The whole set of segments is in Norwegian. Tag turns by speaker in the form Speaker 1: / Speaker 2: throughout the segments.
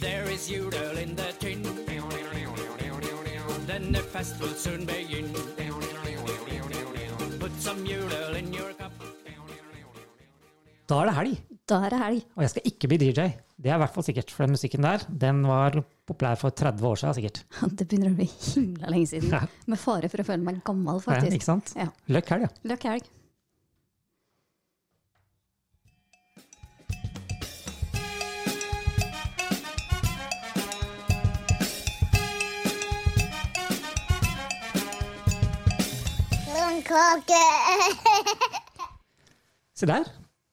Speaker 1: There is judel in the tynn. Denne fest will soon begynne. Put some judel in your cup.
Speaker 2: Da er det helg,
Speaker 3: Da er det helg.
Speaker 2: og jeg skal ikke bli DJ. Det er i hvert fall sikkert, for den musikken der den var populær for 30 år siden sikkert.
Speaker 3: Det begynner å bli himla lenge siden.
Speaker 2: Ja.
Speaker 3: Med fare for å føle meg gammel,
Speaker 2: Ja,
Speaker 3: faktisk.
Speaker 2: ikke sant?
Speaker 3: Ja.
Speaker 2: Løkk helg, ja.
Speaker 3: Løkk helg.
Speaker 2: Se der.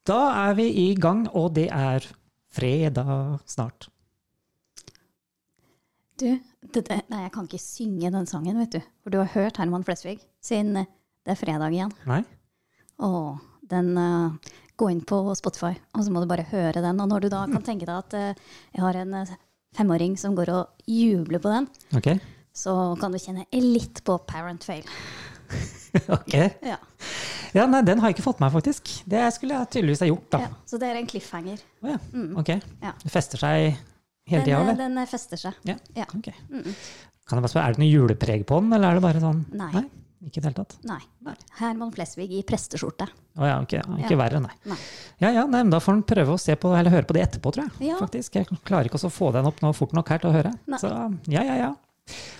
Speaker 2: Da er vi i gang, og det er fredag snart.
Speaker 3: Du, det, det, nei, jeg kan ikke synge den sangen, vet du. For du har hørt Herman Flesvig siden eh, det er fredag igjen.
Speaker 2: Nei?
Speaker 3: Og den eh, Gå inn på Spotify, og så må du bare høre den. Og når du da kan tenke deg at eh, jeg har en eh, femåring som går og jubler på den,
Speaker 2: Ok.
Speaker 3: så kan du kjenne litt på Parent Fail.
Speaker 2: ok.
Speaker 3: Ja.
Speaker 2: Ja, nei, den har jeg ikke fått med meg, faktisk. Det skulle jeg tydeligvis ha gjort, da.
Speaker 3: ja. Så det er en cliffhanger.
Speaker 2: Å ja. Ok.
Speaker 3: Ja.
Speaker 2: Det fester seg hele
Speaker 3: Den,
Speaker 2: tida,
Speaker 3: eh,
Speaker 2: eller?
Speaker 3: den eh, fester seg.
Speaker 2: Ja.
Speaker 3: Ja.
Speaker 2: Ok. Kan jeg bare spørre, Er det noe julepreg på den, eller er det bare sånn
Speaker 3: Nei.
Speaker 2: ikke i det hele tatt?
Speaker 3: Nei.
Speaker 2: Nei.
Speaker 3: Herman Flesvig i presteskjorte.
Speaker 2: Å ja, ok. Ikke
Speaker 3: Ja.
Speaker 2: verre, nei.
Speaker 3: Nei.
Speaker 2: Ja ja, nei, men da får en prøve å se på, eller høre på det etterpå, tror jeg.
Speaker 3: Ja.
Speaker 2: Faktisk. Jeg klarer ikke også å få den opp nå fort nok her til å høre.
Speaker 3: Nei.
Speaker 2: Så ja ja ja.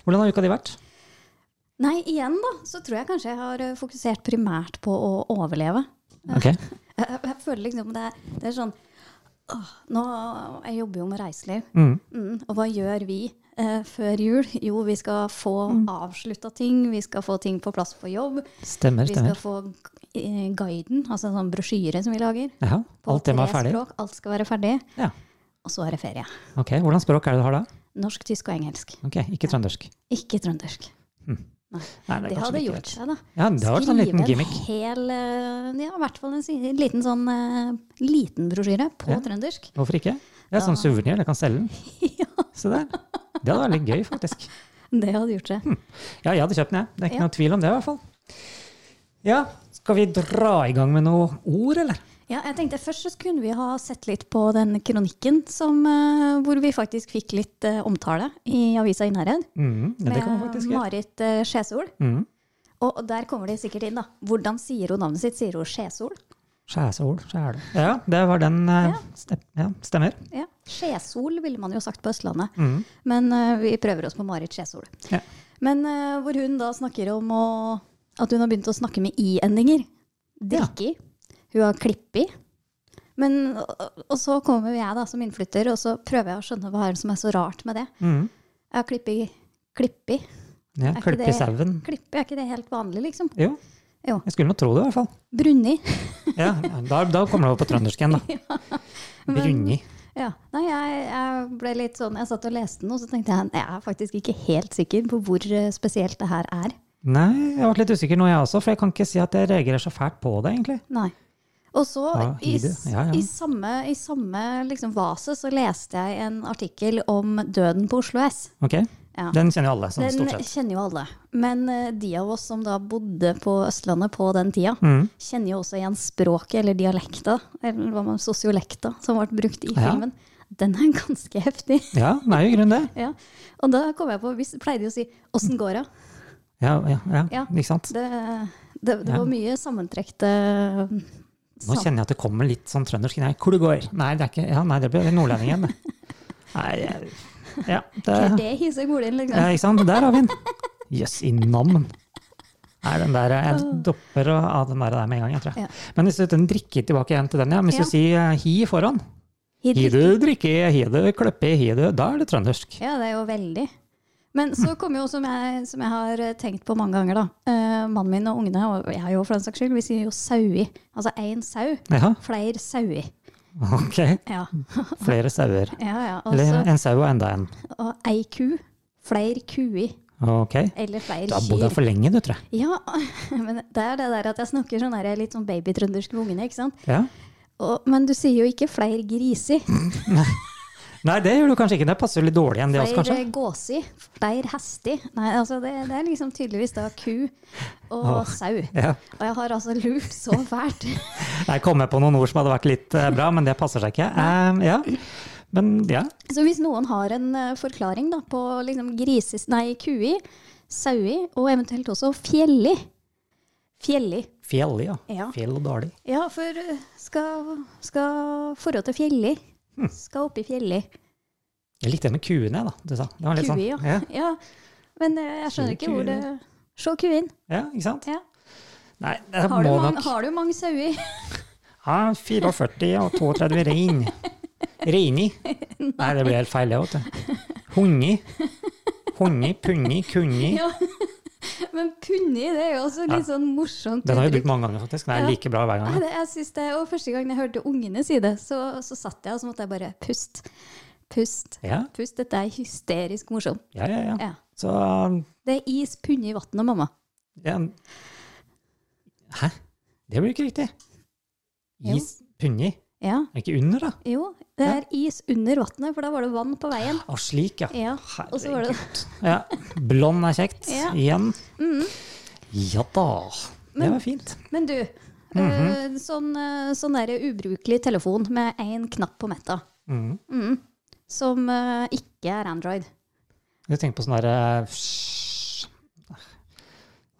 Speaker 2: Hvordan har uka di vært?
Speaker 3: Nei, igjen da, så tror jeg kanskje jeg har eh, fokusert primært på å overleve.
Speaker 2: Ok.
Speaker 3: Jeg, jeg, jeg føler liksom det, er- det er sånn åh, nå, Jeg jobber jo med reiseliv.
Speaker 2: Mm.
Speaker 3: Mm, og hva gjør vi eh, før jul? Jo, vi skal få
Speaker 2: Mm.
Speaker 3: avslutta ting. Vi skal få ting på plass på jobb.
Speaker 2: Stemmer,
Speaker 3: Vi skal
Speaker 2: stemmer.
Speaker 3: få eh, guiden, altså en sånn brosjyre som vi lager.
Speaker 2: Ja,
Speaker 3: På
Speaker 2: alt det må være
Speaker 3: tre
Speaker 2: ferdig.
Speaker 3: språk. Alt skal være ferdig.
Speaker 2: Ja.
Speaker 3: Og så er det ferie.
Speaker 2: Ok, Hvordan språk er det du har da?
Speaker 3: Norsk, tysk og engelsk.
Speaker 2: Ok, Ikke trøndersk.
Speaker 3: Ikke trøndersk.
Speaker 2: Nei, er
Speaker 3: Det
Speaker 2: kanskje
Speaker 3: hadde
Speaker 2: like
Speaker 3: gjort
Speaker 2: greit.
Speaker 3: seg, da.
Speaker 2: Ja, det var en sånn liten gimmick.
Speaker 3: en hel eh, Ja, i hvert fall en si- liten sånn eh, liten brosjyre på
Speaker 2: Ja.
Speaker 3: trøndersk.
Speaker 2: Hvorfor ikke? Det er sånn suvenir, jeg kan selge den. Se der. Det hadde vært litt gøy, faktisk.
Speaker 3: Det hadde gjort
Speaker 2: Hm.
Speaker 3: seg.
Speaker 2: Ja, jeg hadde kjøpt den, jeg. Det er ikke
Speaker 3: Ja.
Speaker 2: noe tvil om det, i hvert fall. Ja, skal vi dra i gang med noe ord, eller?
Speaker 3: Ja, jeg tenkte Først så kunne vi ha sett litt på den kronikken som, eh, hvor vi faktisk fikk litt eh, omtale i avisa Innherred.
Speaker 2: Mm, ja, det kan vi
Speaker 3: med
Speaker 2: faktisk gjøre.
Speaker 3: Marit uh, Skjesol.
Speaker 2: Mm.
Speaker 3: Og og der kommer de sikkert inn, da. Hvordan sier hun navnet sitt? Sier hun Skjesol?
Speaker 2: Skjæsol, skjæle. Ja, det var den eh,
Speaker 3: Ja.
Speaker 2: stem, ja, Stemmer.
Speaker 3: Ja. Skjesol ville man jo sagt på Østlandet.
Speaker 2: Mm.
Speaker 3: Men eh, vi prøver oss på Marit Skjesol.
Speaker 2: Ja.
Speaker 3: Men eh, hvor hun da snakker om å, at hun har begynt å snakke med i-endinger. Drikke i. Hun har klippe i. Men, og, og så kommer jeg da som innflytter, og så prøver jeg å skjønne hva er det som er så rart med det.
Speaker 2: Mm.
Speaker 3: Jeg har klippe i. Klippe i.
Speaker 2: Ja,
Speaker 3: Er ikke
Speaker 2: Klippe i
Speaker 3: det-
Speaker 2: sauen.
Speaker 3: Klippe, er ikke det helt vanlig, liksom?
Speaker 2: Jo,
Speaker 3: Jo.
Speaker 2: jeg skulle nå tro det, i hvert fall.
Speaker 3: Brunni.
Speaker 2: Ja, ja, da, da kommer det over på trøndersk igjen, da. Brunni.
Speaker 3: Ja. Nei, jeg, jeg ble litt sånn Jeg satt og leste den, og så tenkte jeg jeg er faktisk ikke helt sikker på hvor eh, spesielt det her er.
Speaker 2: Nei, jeg ble litt usikker nå, jeg også, for jeg kan ikke si at jeg reagerer så fælt på det, egentlig.
Speaker 3: Nei. Og så,
Speaker 2: Ja,
Speaker 3: i,
Speaker 2: i det.
Speaker 3: s-
Speaker 2: Ja, ja.
Speaker 3: i samme, i samme liksom, vase, så leste jeg en artikkel om døden på Oslo S.
Speaker 2: Ok?
Speaker 3: Ja.
Speaker 2: Den kjenner jo alle, sånn
Speaker 3: Den
Speaker 2: stort sett.
Speaker 3: kjenner jo alle. Men eh, de av oss som da bodde på Østlandet på den tida,
Speaker 2: Mm.
Speaker 3: kjenner jo også igjen språket eller dialekta, eller hva man sosiolekta, som ble brukt i
Speaker 2: Ja.
Speaker 3: filmen. Den er ganske heftig.
Speaker 2: Ja, den er jo i grunnen det.
Speaker 3: Ja. Og da kom jeg på, vi s- pleide jo å si 'åssen går det?'
Speaker 2: Ja, ja, ja,
Speaker 3: Ja.
Speaker 2: ikke sant?
Speaker 3: Det, det, det
Speaker 2: Ja.
Speaker 3: var mye sammentrekte
Speaker 2: Nå kjenner jeg at det kommer litt sånn trøndersk inn her. Hvor det går? Nei, det er ikke Ja, nei, det blir nordlending igjen, det. Nei, jeg- ja,
Speaker 3: Hva er
Speaker 2: det,
Speaker 3: det hisser bor inn, liksom?
Speaker 2: ja, ikke sant? Der har vi den. Jøss, i namn. Nei, den der, jeg dopper av den der, der med en gang, jeg tror
Speaker 3: Ja.
Speaker 2: jeg. Men hvis du den drikker tilbake igjen til den, ja. men Hvis
Speaker 3: Ja.
Speaker 2: du sier eh, hi foran,
Speaker 3: Hidrik-
Speaker 2: hi du drikke, hi du kløppe, hi du, da er det trøndersk.
Speaker 3: Ja, det er jo veldig. Men så kom jo, som jeg, som jeg har eh, tenkt på mange ganger, da. eh, mannen min og ungene, og jeg jo for den saks skyld, vi sier jo saui. Altså én sau,
Speaker 2: Ja,
Speaker 3: flere saui.
Speaker 2: ok.
Speaker 3: Ja,
Speaker 2: Flere sauer.
Speaker 3: ja. ja. Og
Speaker 2: Eller
Speaker 3: så-
Speaker 2: en sau og enda en.
Speaker 3: og ei ku, flere kui,
Speaker 2: Ok.
Speaker 3: eller flere
Speaker 2: Du har bodd her
Speaker 3: kyr.
Speaker 2: for lenge, du, tror jeg.
Speaker 3: Ja, men det er det der at jeg snakker sånn der, litt sånn babytrøndersk med ungene, ikke sant.
Speaker 2: Ja.
Speaker 3: Og, men du sier jo ikke flere griser.
Speaker 2: Nei, det gjør du kanskje ikke. Det passer litt dårlig igjen, det også, kanskje.
Speaker 3: Fleir eh, gåsi, fleir hesti. Nei, altså det, det er liksom tydeligvis da ku og
Speaker 2: Åh.
Speaker 3: sau.
Speaker 2: Ja.
Speaker 3: Og jeg har altså lurt så fælt.
Speaker 2: Jeg kom med på noen ord som hadde vært litt eh, bra, men det passer seg ikke. Eh, ja. Men ja.
Speaker 3: Så hvis noen har en eh, forklaring da, på liksom grises... Nei, kui, saui og eventuelt også fjelli. Fjelli.
Speaker 2: Fjellig, ja.
Speaker 3: Ja.
Speaker 2: Fjell og dårlig.
Speaker 3: Ja, for eh, skal, skal forhold til fjelli.
Speaker 2: Hm.
Speaker 3: Skal opp i fjelli.
Speaker 2: Jeg likte det med kuene, da. Du sa. Det var litt
Speaker 3: Kui, ja.
Speaker 2: sånn. Ja.
Speaker 3: ja. Men eh, jeg
Speaker 2: Se
Speaker 3: skjønner ikke
Speaker 2: kuen.
Speaker 3: hvor det Se kuen.
Speaker 2: ja, ikke sant?
Speaker 3: Ja.
Speaker 2: Nei, det
Speaker 3: Har, du
Speaker 2: må
Speaker 3: mange,
Speaker 2: nok
Speaker 3: har du mange sauer?
Speaker 2: ja, 44 og 32 rein. Reini. Nei, det blir helt feil, det, vet du. Hunni. Hunni, punni, kunni.
Speaker 3: Ja. Men punni, det er jo også litt sånn morsomt.
Speaker 2: Den har vi
Speaker 3: uttrykk.
Speaker 2: brukt mange ganger, faktisk. Den
Speaker 3: Ja.
Speaker 2: er like bra hver gang.
Speaker 3: Nei, det, jeg synes det, og Første gang jeg hørte ungene si det, så, så satt jeg og så måtte jeg bare pust. Pust.
Speaker 2: Ja,
Speaker 3: Pust, dette er hysterisk morsomt.
Speaker 2: ja, ja. ja.
Speaker 3: Ja.
Speaker 2: Så
Speaker 3: Det er is punni i vannet, mamma.
Speaker 2: ja. Hæ? Det blir ikke riktig.
Speaker 3: Jo.
Speaker 2: Is, punni.
Speaker 3: Ja,
Speaker 2: Er det ikke under, da?
Speaker 3: jo. Det er is under vannet, for da var det vann på veien.
Speaker 2: Å, slik, ja.
Speaker 3: Ja, og så var det
Speaker 2: Ja. Blond er kjekt.
Speaker 3: Ja.
Speaker 2: Igjen.
Speaker 3: Mhm.
Speaker 2: Ja da. Det var fint.
Speaker 3: Men du, øh,
Speaker 2: Mhm.
Speaker 3: sånn, øh, sånn der ubrukelig telefon med én knapp på metta,
Speaker 2: Mhm.
Speaker 3: Mhm. som øh, ikke er Android.
Speaker 2: Jeg tenker på sånn derre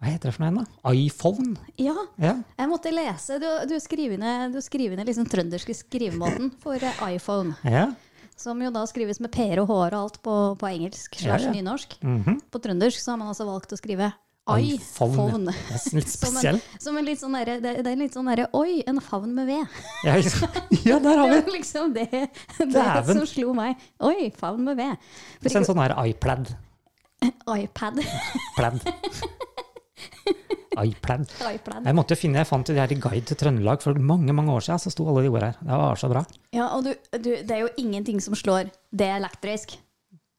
Speaker 2: Hva heter det for noe igjen, da? iPhone?
Speaker 3: Ja,
Speaker 2: Ja.
Speaker 3: jeg måtte lese. Du, du skriver ned, du skriver ned liksom trønderske skrivemåten for eh, iPhone,
Speaker 2: ja.
Speaker 3: som jo da skrives med p-er og h-er og alt på, på engelsk slash
Speaker 2: Ja, ja.
Speaker 3: nynorsk.
Speaker 2: Mhm.
Speaker 3: På trøndersk så har man altså valgt å skrive
Speaker 2: iPhone.
Speaker 3: iPhone.
Speaker 2: Det er litt
Speaker 3: Som
Speaker 2: spesiell.
Speaker 3: en, som en litt sånn derre det, det er en litt sånn derre Oi, en favn med ved.
Speaker 2: Ja, ikke sant? ja, der har
Speaker 3: Det
Speaker 2: vi
Speaker 3: var liksom det, det
Speaker 2: Dæven.
Speaker 3: som slo meg. Oi, favn med ved. For
Speaker 2: Så en sånn her iPlad.
Speaker 3: ikke-
Speaker 2: sånn.
Speaker 3: iPad.
Speaker 2: Plad. iPlad.
Speaker 3: iPad.
Speaker 2: Jeg måtte jo finne, jeg fant jo det her i Guide til Trøndelag for mange mange år siden. Så sto alle de ordene her. Det var så bra.
Speaker 3: Ja, og du, du, det er jo ingenting som slår det er elektrisk.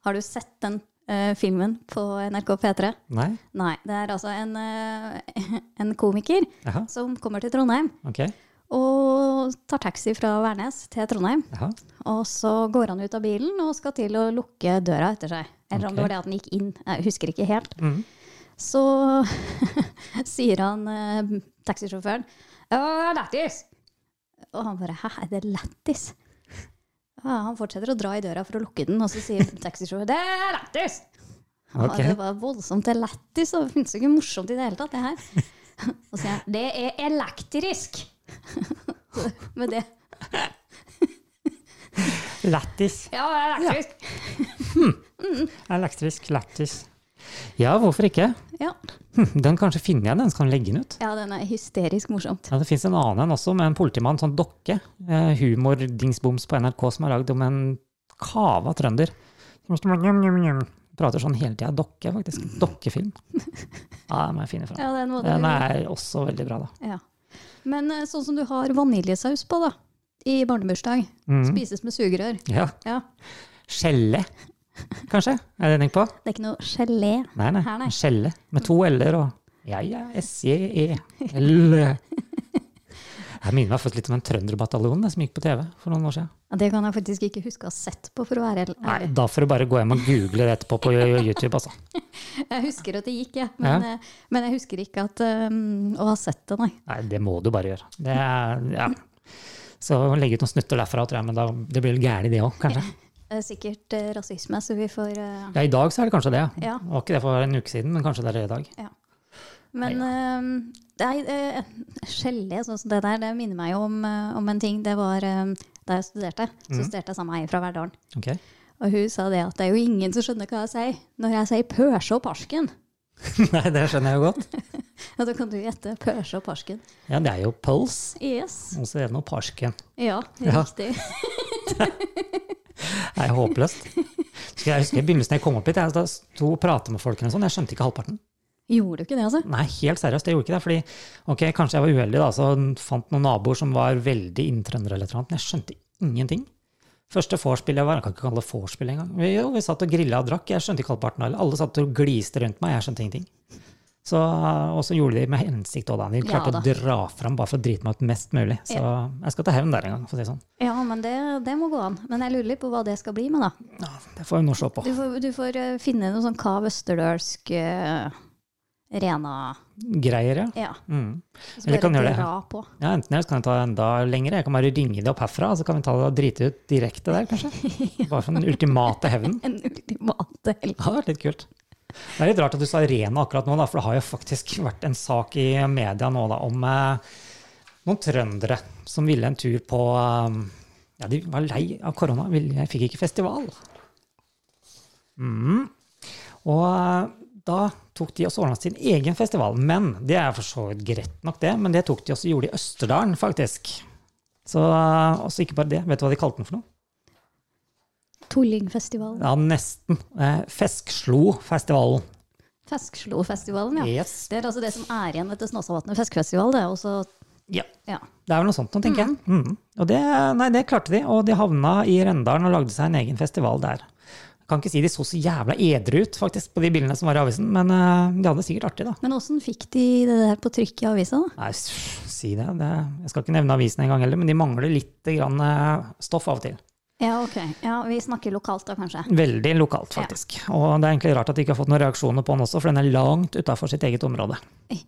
Speaker 3: Har du sett den eh, filmen på NRK P3?
Speaker 2: Nei?
Speaker 3: Nei. Det er altså en, eh, en komiker
Speaker 2: Jaha.
Speaker 3: som kommer til Trondheim
Speaker 2: Ok.
Speaker 3: og tar taxi fra Værnes til Trondheim.
Speaker 2: Jaha.
Speaker 3: Og så går han ut av bilen og skal til å lukke døra etter seg. Eller om
Speaker 2: Ok.
Speaker 3: det var det at han gikk inn. Jeg husker ikke helt.
Speaker 2: Mhm.
Speaker 3: Så sier han eh, taxisjåføren «Ja, lættis!» Og han bare Hæ, er det lættis? Ja, han fortsetter å dra i døra for å lukke den, og så sier taxisjåføren Det er lættis! Ja,
Speaker 2: Ok.
Speaker 3: Det var voldsomt. Det er lættis, og det finnes jo ikke morsomt i det hele tatt, det her. Og så sier han Det er elektrisk! Så Med det.
Speaker 2: Lættis.
Speaker 3: Ja, det er elektrisk.
Speaker 2: Elektrisk lættis. Ja, hvorfor ikke?
Speaker 3: Ja.
Speaker 2: Hm, Den kanskje finner jeg, den, så kan jeg legge den ut.
Speaker 3: ja, den er hysterisk morsomt.
Speaker 2: Ja, Det fins en annen en også, med en politimann, sånn dokke. Eh, Humordingsboms på NRK som er lagd om en kava trønder. Prater sånn hele tida. Dokke, faktisk. Dokkefilm. Ja, den må jeg finne fram.
Speaker 3: Ja, den må du
Speaker 2: Den er også veldig bra, da.
Speaker 3: Ja. Men eh, sånn som du har vaniljesaus på da, i barnebursdag,
Speaker 2: Mhm.
Speaker 3: spises med sugerør.
Speaker 2: Ja.
Speaker 3: Ja.
Speaker 2: Skjelle, kanskje? Er det den på?
Speaker 3: Det er ikke noe gelé.
Speaker 2: Nei, nei.
Speaker 3: Her, nei.
Speaker 2: Skjelle. Med to L-er og Jeg er S-J-E. L. Jeg minner meg faktisk litt om en trønderbataljon det, som gikk på TV for noen år siden.
Speaker 3: Ja, det kan jeg faktisk ikke huske å ha sett på, for å være helt
Speaker 2: Nei,
Speaker 3: ærlig.
Speaker 2: da får du bare gå hjem og google det etterpå på YouTube, altså.
Speaker 3: Jeg husker at det gikk, jeg. Men,
Speaker 2: Ja.
Speaker 3: eh, men jeg husker ikke at, eh, å ha sett det, nei.
Speaker 2: Nei, det må du bare gjøre. Det er, ja. Så legge ut noen snutter derfra, tror jeg, men da, det blir litt gærent det òg, kanskje.
Speaker 3: Det er sikkert eh, rasisme, så vi får eh,
Speaker 2: Ja, i dag så er det kanskje det.
Speaker 3: Ja.
Speaker 2: Det var ikke det for en uke siden, men kanskje det er det i dag.
Speaker 3: Ja. Men eh, nei, eh, gelé, sånn som det der, det minner meg jo om, eh, om en ting. Det var eh, da jeg studerte. Så
Speaker 2: Mhm.
Speaker 3: studerte jeg sammen med ei fra Verdalen.
Speaker 2: Ok?
Speaker 3: Og hun sa det at det er jo ingen som skjønner hva jeg sier når jeg sier pørse og parsken.
Speaker 2: Nei, det skjønner jeg jo godt.
Speaker 3: Ja, da kan du gjette pørse og parsken.
Speaker 2: Ja, det er jo Puls,
Speaker 3: Yes.
Speaker 2: og så er det noe Parsken.
Speaker 3: Ja,
Speaker 2: Ja.
Speaker 3: riktig.
Speaker 2: Det er håpløst. Skal jeg husker i begynnelsen jeg kom opp hit, jeg da sto og pratet med folkene og sånn, jeg skjønte ikke halvparten.
Speaker 3: Gjorde du ikke det, altså?
Speaker 2: Nei, helt seriøst, jeg gjorde ikke det, fordi ok, kanskje jeg var uheldig da, så fant noen naboer som var veldig inntrøndere eller et eller annet, men jeg skjønte ingenting. Første vorspiel jeg var, jeg kan ikke kalle det vorspiel engang. Vi, jo, vi satt og grilla og drakk, jeg skjønte ikke halvparten. av det. Alle satt og gliste rundt meg, jeg skjønte ingenting. Så, og så gjorde de det med hensikt òg, da. De
Speaker 3: Ja
Speaker 2: klarte
Speaker 3: da.
Speaker 2: å dra fram bare for å drite meg ut mest mulig. Så jeg skal ta hevn der en gang, for å si det sånn.
Speaker 3: Ja, men det, det må gå an. Men jeg lurer litt på hva det skal bli med, da.
Speaker 2: Ja, det får vi nå se på.
Speaker 3: Du får, du får eh, finne noe sånn Kav Østerdølsk eh, Rena
Speaker 2: Greier, ja.
Speaker 3: Ja.
Speaker 2: Mm.
Speaker 3: Så
Speaker 2: Eller
Speaker 3: bare
Speaker 2: kan gjøre det.
Speaker 3: dra på.
Speaker 2: ja. Enten eller så kan jeg ta det enda lengre. Jeg kan bare ringe de opp herfra, så kan vi ta det og drite ut direkte der, kanskje. Bare for den ultimate hevnen.
Speaker 3: En ultimate helg.
Speaker 2: Det hadde vært litt kult. Det er litt rart at du sa Rena akkurat nå, da, for det har jo faktisk vært en sak i media nå da, om eh, noen trøndere som ville en tur på eh, Ja, de var lei av korona. ville- Jeg fikk ikke festival. Mm. Og eh, da tok de også ordna sin egen festival. Men det er for så vidt greit nok, det. Men det tok de også gjorde i Østerdalen, faktisk. Så eh, også ikke bare det. Vet du hva de kalte den for noe?
Speaker 3: Tullingfestivalen.
Speaker 2: Ja, nesten. Eh, Feskslo-festivalen.
Speaker 3: Fesklofestivalen, ja.
Speaker 2: Yes.
Speaker 3: Det er altså det som er igjen etter Snåsavatnet fiskefestival, det. Og så,
Speaker 2: Ja,
Speaker 3: ja.
Speaker 2: det er vel noe sånt nå, tenker jeg. Mm. Og det, nei, det klarte de, og de havna i Rendalen og lagde seg en egen festival der. Jeg kan ikke si de så så jævla edru ut, faktisk, på de bildene som var i avisen, men eh, de hadde det sikkert artig, da.
Speaker 3: Men åssen fikk de det der på trykk i avisa, da?
Speaker 2: Nei, s- si det. det. Jeg skal ikke nevne avisen engang heller, men de mangler litt grann, eh, stoff av og til.
Speaker 3: Ja, ok. Ja, vi snakker lokalt da, kanskje.
Speaker 2: Veldig lokalt, faktisk. Og det er egentlig rart at de ikke har fått noen reaksjoner på den også, for den er langt utafor sitt eget område.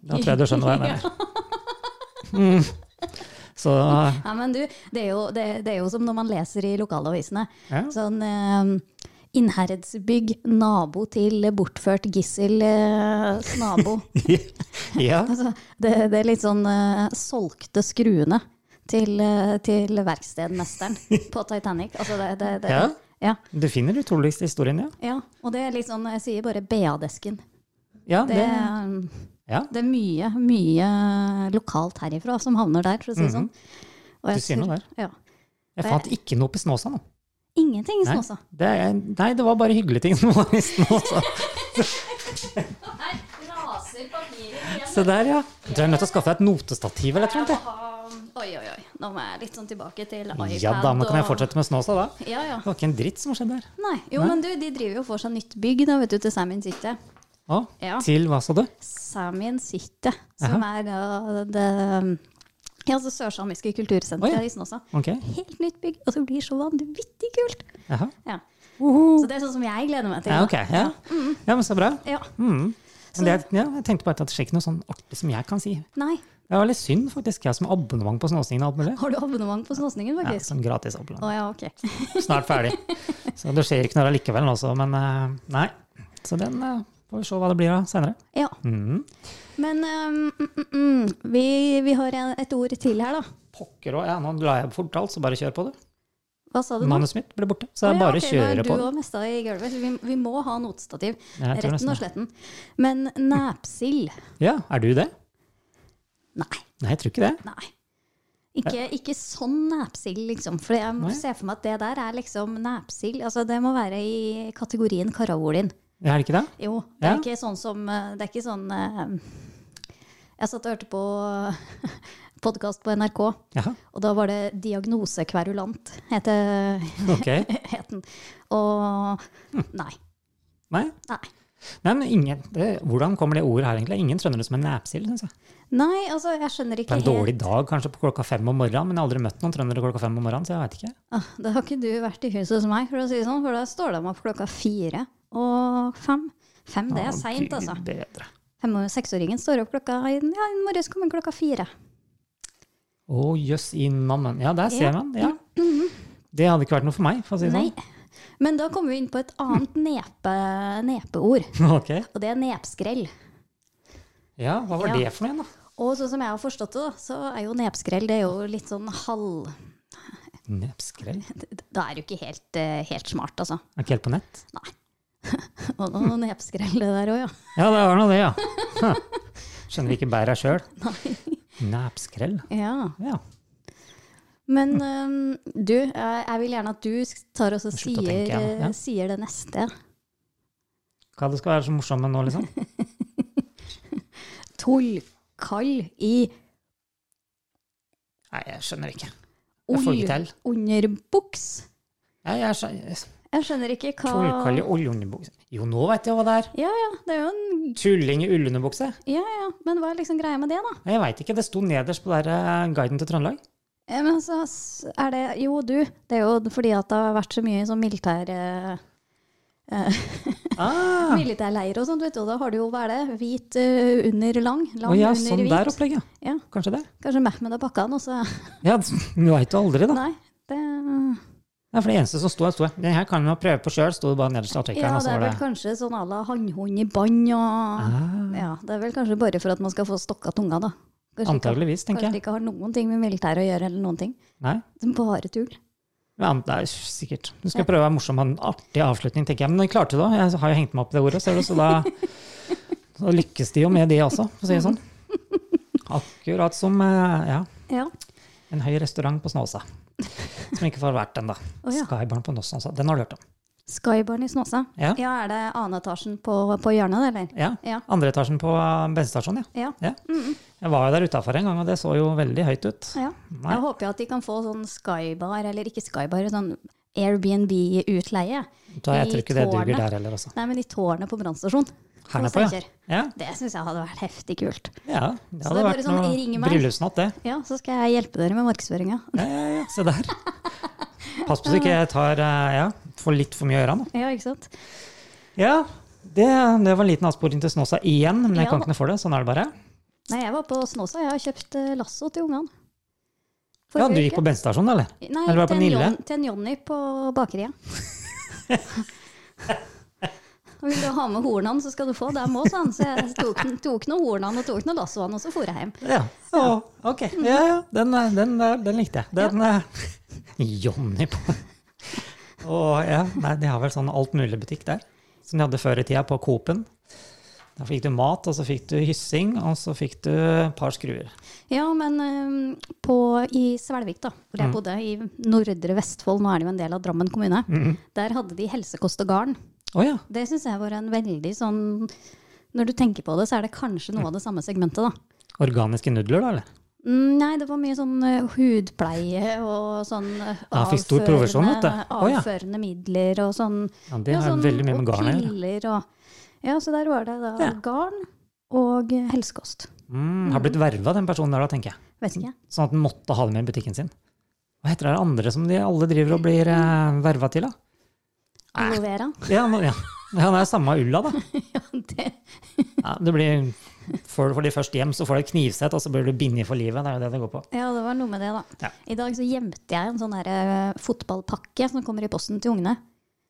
Speaker 2: Da tror jeg du skjønner hva jeg mener. Mm. Så
Speaker 3: Ja, men du, det er, jo, det, det er jo som når man leser i lokalavisene.
Speaker 2: Ja.
Speaker 3: Sånn eh, Innherredsbygg, nabo til bortført gissel, eh, nabo.
Speaker 2: ja.
Speaker 3: altså, det, det er litt sånn eh, solgte skruene til, eh, til verkstedmesteren på Titanic. Altså, det, det, det,
Speaker 2: Ja.
Speaker 3: ja.
Speaker 2: Du finner de utroligste historiene, ja.
Speaker 3: Ja, og det er litt sånn, jeg sier bare BA-desken.
Speaker 2: Ja,
Speaker 3: Det, er- ehm,
Speaker 2: ja.
Speaker 3: det er mye, mye lokalt herifra som havner der, for å si det sånn. Og jeg
Speaker 2: Mhm. Du sier noe
Speaker 3: tror-
Speaker 2: der.
Speaker 3: Ja.
Speaker 2: Jeg fant ikke noe på Snåsa nå.
Speaker 3: Ingenting i
Speaker 2: Nei.
Speaker 3: Snåsa.
Speaker 2: Det, er- nei, det var bare hyggelige ting som var i Snåsa.
Speaker 3: Her raser papiret igjen.
Speaker 2: Se der, ja. Du er nødt til å skaffe deg et notestativ eller noe. jeg.
Speaker 3: Oi, oi, oi. Nå må jeg litt sånn tilbake til iPad.
Speaker 2: Ja da, men kan jeg
Speaker 3: og-
Speaker 2: fortsette med Snåsa da? Det
Speaker 3: Ja, ja.
Speaker 2: var ikke en dritt som skjedde der.
Speaker 3: Nei. Jo,
Speaker 2: Nei.
Speaker 3: men du, de driver jo for seg nytt bygg da, vet du, til Samin City.
Speaker 2: Å,
Speaker 3: Ja.
Speaker 2: til hva sa du?
Speaker 3: Samin City, som er da det ja, altså sørsamiske kultursenteret
Speaker 2: Oi, ja.
Speaker 3: i Snåsa.
Speaker 2: Ok.
Speaker 3: Helt nytt bygg, og det blir så vanvittig kult.
Speaker 2: Jaha.
Speaker 3: Ja.
Speaker 2: Uhu.
Speaker 3: Så det er sånn som jeg gleder meg til.
Speaker 2: Ja,
Speaker 3: da.
Speaker 2: ok. Ja. ja, men så bra.
Speaker 3: Ja.
Speaker 2: Mm. Men det, ja, jeg tenkte bare at det skjer ikke noe sånn artig som jeg kan si.
Speaker 3: Nei.
Speaker 2: Det var litt synd faktisk, jeg som har abonnement på Snåsingen og alt mulig.
Speaker 3: Har du abonnement på Snåsningen,
Speaker 2: Ja,
Speaker 3: faktisk?
Speaker 2: sånn gratis abonnement.
Speaker 3: Å ja, ok.
Speaker 2: snart ferdig. Så det skjer ikke noe allikevel nå også, men eh, nei. Så den eh, får vi se hva det blir av senere.
Speaker 3: Ja.
Speaker 2: Mm.
Speaker 3: Men um, mm, mm, mm, vi, vi har en- et ord til her, da.
Speaker 2: Pokker òg, ja. Nå la jeg fort alt, så bare kjør på det.
Speaker 3: Hva sa du nå?
Speaker 2: Manuset mitt ble borte, så
Speaker 3: Mhm. Å
Speaker 2: jeg
Speaker 3: ja,
Speaker 2: bare
Speaker 3: ok, nå er
Speaker 2: kjører på
Speaker 3: Du
Speaker 2: det.
Speaker 3: òg mista i gulvet. så Vi, vi må ha notestativ.
Speaker 2: Ja, jeg tror
Speaker 3: Retten og sletten. Men næpsild?
Speaker 2: Ja, er du det?
Speaker 3: Nei.
Speaker 2: Nei, jeg tror ikke det.
Speaker 3: nei. Ikke, ikke sånn næpsild, liksom. For jeg
Speaker 2: Nei.
Speaker 3: må se for meg at det der er liksom næpsild. Altså, det må være i kategorien karavolin.
Speaker 2: Er det ikke det?
Speaker 3: Jo, det
Speaker 2: Ja.
Speaker 3: er ikke sånn som eh, Det er ikke sånn eh, Jeg satt og hørte på podkast på NRK,
Speaker 2: Jaha,
Speaker 3: og da var det 'Diagnosekverulant', het det-
Speaker 2: ok.
Speaker 3: het den. Og nei.
Speaker 2: Nei,
Speaker 3: Nei.
Speaker 2: nei men ingen, det, hvordan kommer det ordet her egentlig? Ingen skjønner det som en næpsild, syns jeg.
Speaker 3: Nei, altså, jeg skjønner
Speaker 2: På
Speaker 3: ikke
Speaker 2: en
Speaker 3: helt
Speaker 2: dårlig dag, kanskje på klokka fem om morgenen, men jeg har aldri møtt noen trøndere klokka fem om morgenen, så jeg veit ikke.
Speaker 3: Ah, Da har ikke du vært i huset hos meg, for å si det sånn, for da står de opp klokka fire og fem. Fem, det
Speaker 2: Å,
Speaker 3: er seint,
Speaker 2: Gud
Speaker 3: altså.
Speaker 2: Bedre.
Speaker 3: Fem- og Seksåringen står opp klokka Ja, i morges kom den klokka fire.
Speaker 2: Å, jøss i nammen. Ja, der ser
Speaker 3: Ja. Mhm.
Speaker 2: man. Ja. Det hadde ikke vært noe for meg, for å si det
Speaker 3: Nei.
Speaker 2: sånn.
Speaker 3: Men da kommer vi inn på et annet nepe, nepeord,
Speaker 2: sånn. Ok.
Speaker 3: og det er nepskrell.
Speaker 2: Ja, hva var
Speaker 3: Ja.
Speaker 2: det for noe igjen, da?
Speaker 3: Og sånn som jeg har forstått det, da, så er jo nepskrell det er jo litt sånn halv
Speaker 2: Nepskrell?
Speaker 3: Da er du ikke helt, eh, helt smart, altså.
Speaker 2: Er ikke helt på nett?
Speaker 3: Og noe nepskrell det der òg, ja.
Speaker 2: Ja, det var nå det, ja. Huh. Skjønner ikke bæra sjøl. Nepskrell?
Speaker 3: ja.
Speaker 2: Ja.
Speaker 3: Men øhm, du, jeg, jeg vil gjerne at du sk- tar oss og
Speaker 2: Slutt å
Speaker 3: sier,
Speaker 2: tenke, ja.
Speaker 3: eh,
Speaker 2: Ja.
Speaker 3: sier det neste.
Speaker 2: Hva det skal være så morsomt med nå, liksom?
Speaker 3: Tullkall i
Speaker 2: Nei, jeg skjønner ikke. Jeg får
Speaker 3: ull
Speaker 2: ikke til.
Speaker 3: under buks.
Speaker 2: Jeg, jeg skjønner.
Speaker 3: Jeg skjønner ikke hva
Speaker 2: Trollkalle i ullunderbukse. Jo, nå vet jeg hva det er.
Speaker 3: Ja ja, det er jo en
Speaker 2: Tulling i ullunderbukse.
Speaker 3: Ja ja, men hva er liksom greia med det, da?
Speaker 2: Jeg veit ikke, det sto nederst på der eh, guiden til Trøndelag.
Speaker 3: Ja, men altså, s- er det Jo, du. Det er jo fordi at det har vært så mye sånn militær... Eh,
Speaker 2: Ah,
Speaker 3: Militærleir og sånt, vet du. Og da har du jo, hva er det, hvit eh, under lang, lang
Speaker 2: å ja,
Speaker 3: under
Speaker 2: sånn
Speaker 3: hvit.
Speaker 2: der opplegget.
Speaker 3: Ja.
Speaker 2: Kanskje det.
Speaker 3: Kanskje Mehmed har pakka den, og så
Speaker 2: Ja, Du veit jo aldri, da.
Speaker 3: Nei. Det,
Speaker 2: Nei, for det eneste som sto her, sto jeg. Den her kan du prøve på sjøl, sto det bare nederst i
Speaker 3: ja,
Speaker 2: artikkelen. og
Speaker 3: det
Speaker 2: så
Speaker 3: er
Speaker 2: var
Speaker 3: vel
Speaker 2: det-
Speaker 3: kanskje sånn à la hannhund i bånd og
Speaker 2: Ah,
Speaker 3: Ja, det er vel kanskje bare for at man skal få stokka tunga, da. Kanskje
Speaker 2: Antageligvis,
Speaker 3: ikke,
Speaker 2: tenker
Speaker 3: kanskje
Speaker 2: jeg.
Speaker 3: det ikke har noen ting med militæret å gjøre, eller noen ting.
Speaker 2: Nei.
Speaker 3: Det er Bare tull.
Speaker 2: Ja, men det er sikkert. Du skal prøve å være morsom og ha en artig avslutning, tenker jeg. Men det klarte du da. Jeg har jo hengt meg opp i det ordet, ser du, så da, da lykkes de jo med det også, for å si det sånn.
Speaker 3: Mhm.
Speaker 2: Akkurat som eh, ja,
Speaker 3: Ja.
Speaker 2: en høy restaurant på Snåsa. Som ikke får vært den, da.
Speaker 3: Å, ja.
Speaker 2: Skybarn på Snåsa. Den har du hørt om?
Speaker 3: Skybarn i Snåsa.
Speaker 2: Ja.
Speaker 3: ja, er det andre etasjen på, på hjørnet, eller?
Speaker 2: Ja.
Speaker 3: Ja.
Speaker 2: Andre etasjen på eh, bensinstasjonen, ja.
Speaker 3: Ja.
Speaker 2: ja. Jeg var jo der utafor en gang, og det så jo veldig høyt ut.
Speaker 3: ja.
Speaker 2: Nei.
Speaker 3: Jeg håper jo at de kan få sånn skybar, eller ikke skybar, sånn Airbnb-utleie.
Speaker 2: Da, jeg tror ikke det
Speaker 3: I
Speaker 2: duger
Speaker 3: tårnet.
Speaker 2: der heller, altså.
Speaker 3: Nei, men i tårnet på brannstasjonen.
Speaker 2: Her
Speaker 3: Hos
Speaker 2: nedpå, ja.
Speaker 3: Steinkjer.
Speaker 2: ja.
Speaker 3: Det syns jeg hadde vært heftig kult.
Speaker 2: Ja, det
Speaker 3: Så
Speaker 2: hadde
Speaker 3: det er
Speaker 2: vært
Speaker 3: bare sånn, ring
Speaker 2: noe
Speaker 3: meg.
Speaker 2: bryllupsnatt, det.
Speaker 3: Ja, så skal jeg hjelpe dere med markedsføringa.
Speaker 2: Ja, Eh, ja, ja. Se der. Pass på så ikke jeg tar eh, ja, får litt for mye å gjøre nå.
Speaker 3: Ja, ikke sant?
Speaker 2: Ja, det, det var en liten avsporing til Snåsa igjen, men jeg
Speaker 3: Ja
Speaker 2: kan
Speaker 3: da.
Speaker 2: ikke noe for det. Sånn er det bare.
Speaker 3: Nei, jeg var på Snåsa. Jeg har kjøpt eh, lasso til ungene.
Speaker 2: Ja, Du gikk på bensinstasjonen, eller?
Speaker 3: Nei,
Speaker 2: eller var det på
Speaker 3: til, en
Speaker 2: Nille?
Speaker 3: Jon, til en Jonny på bakeriet. Og Vil du ha med hornene, så skal du få dem òg, sa han. Så jeg tok, den- tok noen hornene og tok noen lassoene, og så for jeg hjem.
Speaker 2: Ja. Å, ok. Ja, ja. Den, eh, den, eh, den likte jeg. Den eh, Johnny på Å, ja. Nei, de har vel sånn altmuligbutikk der, som de hadde før i tida på Coop-en. Da fikk du mat, og så fikk du hyssing, og så fikk du et par skruer.
Speaker 3: Ja, men eh, på, i Svelvik, da,
Speaker 2: Mm.
Speaker 3: hvor jeg bodde, i nordre Vestfold, nå er det jo en del av Drammen kommune,
Speaker 2: Mm-hmm.
Speaker 3: der hadde de helsekost og garn.
Speaker 2: Å ja.
Speaker 3: Det syns jeg var en veldig sånn Når du tenker på det, så er det kanskje noe av det samme segmentet, da.
Speaker 2: Organiske nudler, da, eller?
Speaker 3: Mm, Nei, det var mye sånn eh, hudpleie og sånn eh,
Speaker 2: Ja, jeg fikk stor provisjon, vet du. Å, ja.
Speaker 3: avførende midler og sånn.
Speaker 2: Ja, det
Speaker 3: ja,
Speaker 2: har
Speaker 3: sånn,
Speaker 2: veldig mye med garn å
Speaker 3: Og
Speaker 2: gjøre.
Speaker 3: piller og Ja, så der var det da
Speaker 2: Ja.
Speaker 3: garn og eh, helsekost.
Speaker 2: Mm, har blitt verva, den personen der, da, tenker jeg.
Speaker 3: Vet ikke.
Speaker 2: Sånn at den måtte ha det med i butikken sin. Hva heter det andre som de alle driver og blir eh, verva til, da? Ah.
Speaker 3: Aloe vera.
Speaker 2: Ja, nå- ja. ja, det er samme ulla, da.
Speaker 3: Ja, det,
Speaker 2: Ja, det blir, får, får de først hjem, så får de et knivsett, og så blir du bindet for livet. Det er jo det det går på.
Speaker 3: ja, det var noe med det, da.
Speaker 2: Ja.
Speaker 3: I dag så gjemte jeg en sånn der, eh, fotballpakke som kommer i posten til ungene.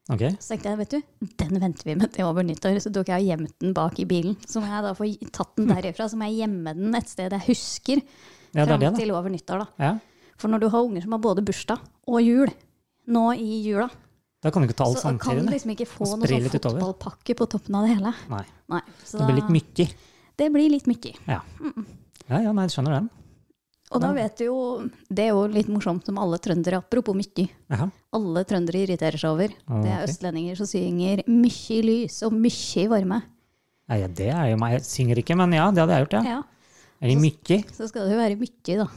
Speaker 2: Ok,
Speaker 3: Så tenkte jeg, vet du, den venter vi med til over nyttår. Så tok jeg og gjemte den bak i bilen. Så må jeg da få tatt den derifra, så må jeg gjemme den et sted jeg husker.
Speaker 2: Ja, det er
Speaker 3: fram
Speaker 2: det, da.
Speaker 3: til over nyttår, da.
Speaker 2: ja.
Speaker 3: For når du har unger som har både bursdag og jul nå i jula,
Speaker 2: Da kan du ikke ta alt
Speaker 3: så kan
Speaker 2: samtidig.
Speaker 3: du
Speaker 2: nei.
Speaker 3: liksom ikke få
Speaker 2: Og
Speaker 3: noe
Speaker 2: spre
Speaker 3: sånn
Speaker 2: litt utover.
Speaker 3: fotballpakke på toppen av det hele.
Speaker 2: Nei,
Speaker 3: Nei, så
Speaker 2: det blir
Speaker 3: da-
Speaker 2: litt mykker.
Speaker 3: det blir litt mye.
Speaker 2: Ja. ja, ja, nei, jeg skjønner den.
Speaker 3: Og da vet du jo Det er jo litt morsomt som alle trøndere, apropos mye.
Speaker 2: Jaha.
Speaker 3: Alle trøndere irriterer seg over.
Speaker 2: Ah,
Speaker 3: Det er
Speaker 2: ok.
Speaker 3: østlendinger som synger 'mykje lys' og 'mykje varme'.
Speaker 2: Ja, ja, det er jo meg. Jeg synger ikke, men ja, det hadde jeg gjort, ja.
Speaker 3: Ja,
Speaker 2: Er de mykker?
Speaker 3: Så skal det jo være mykje, da.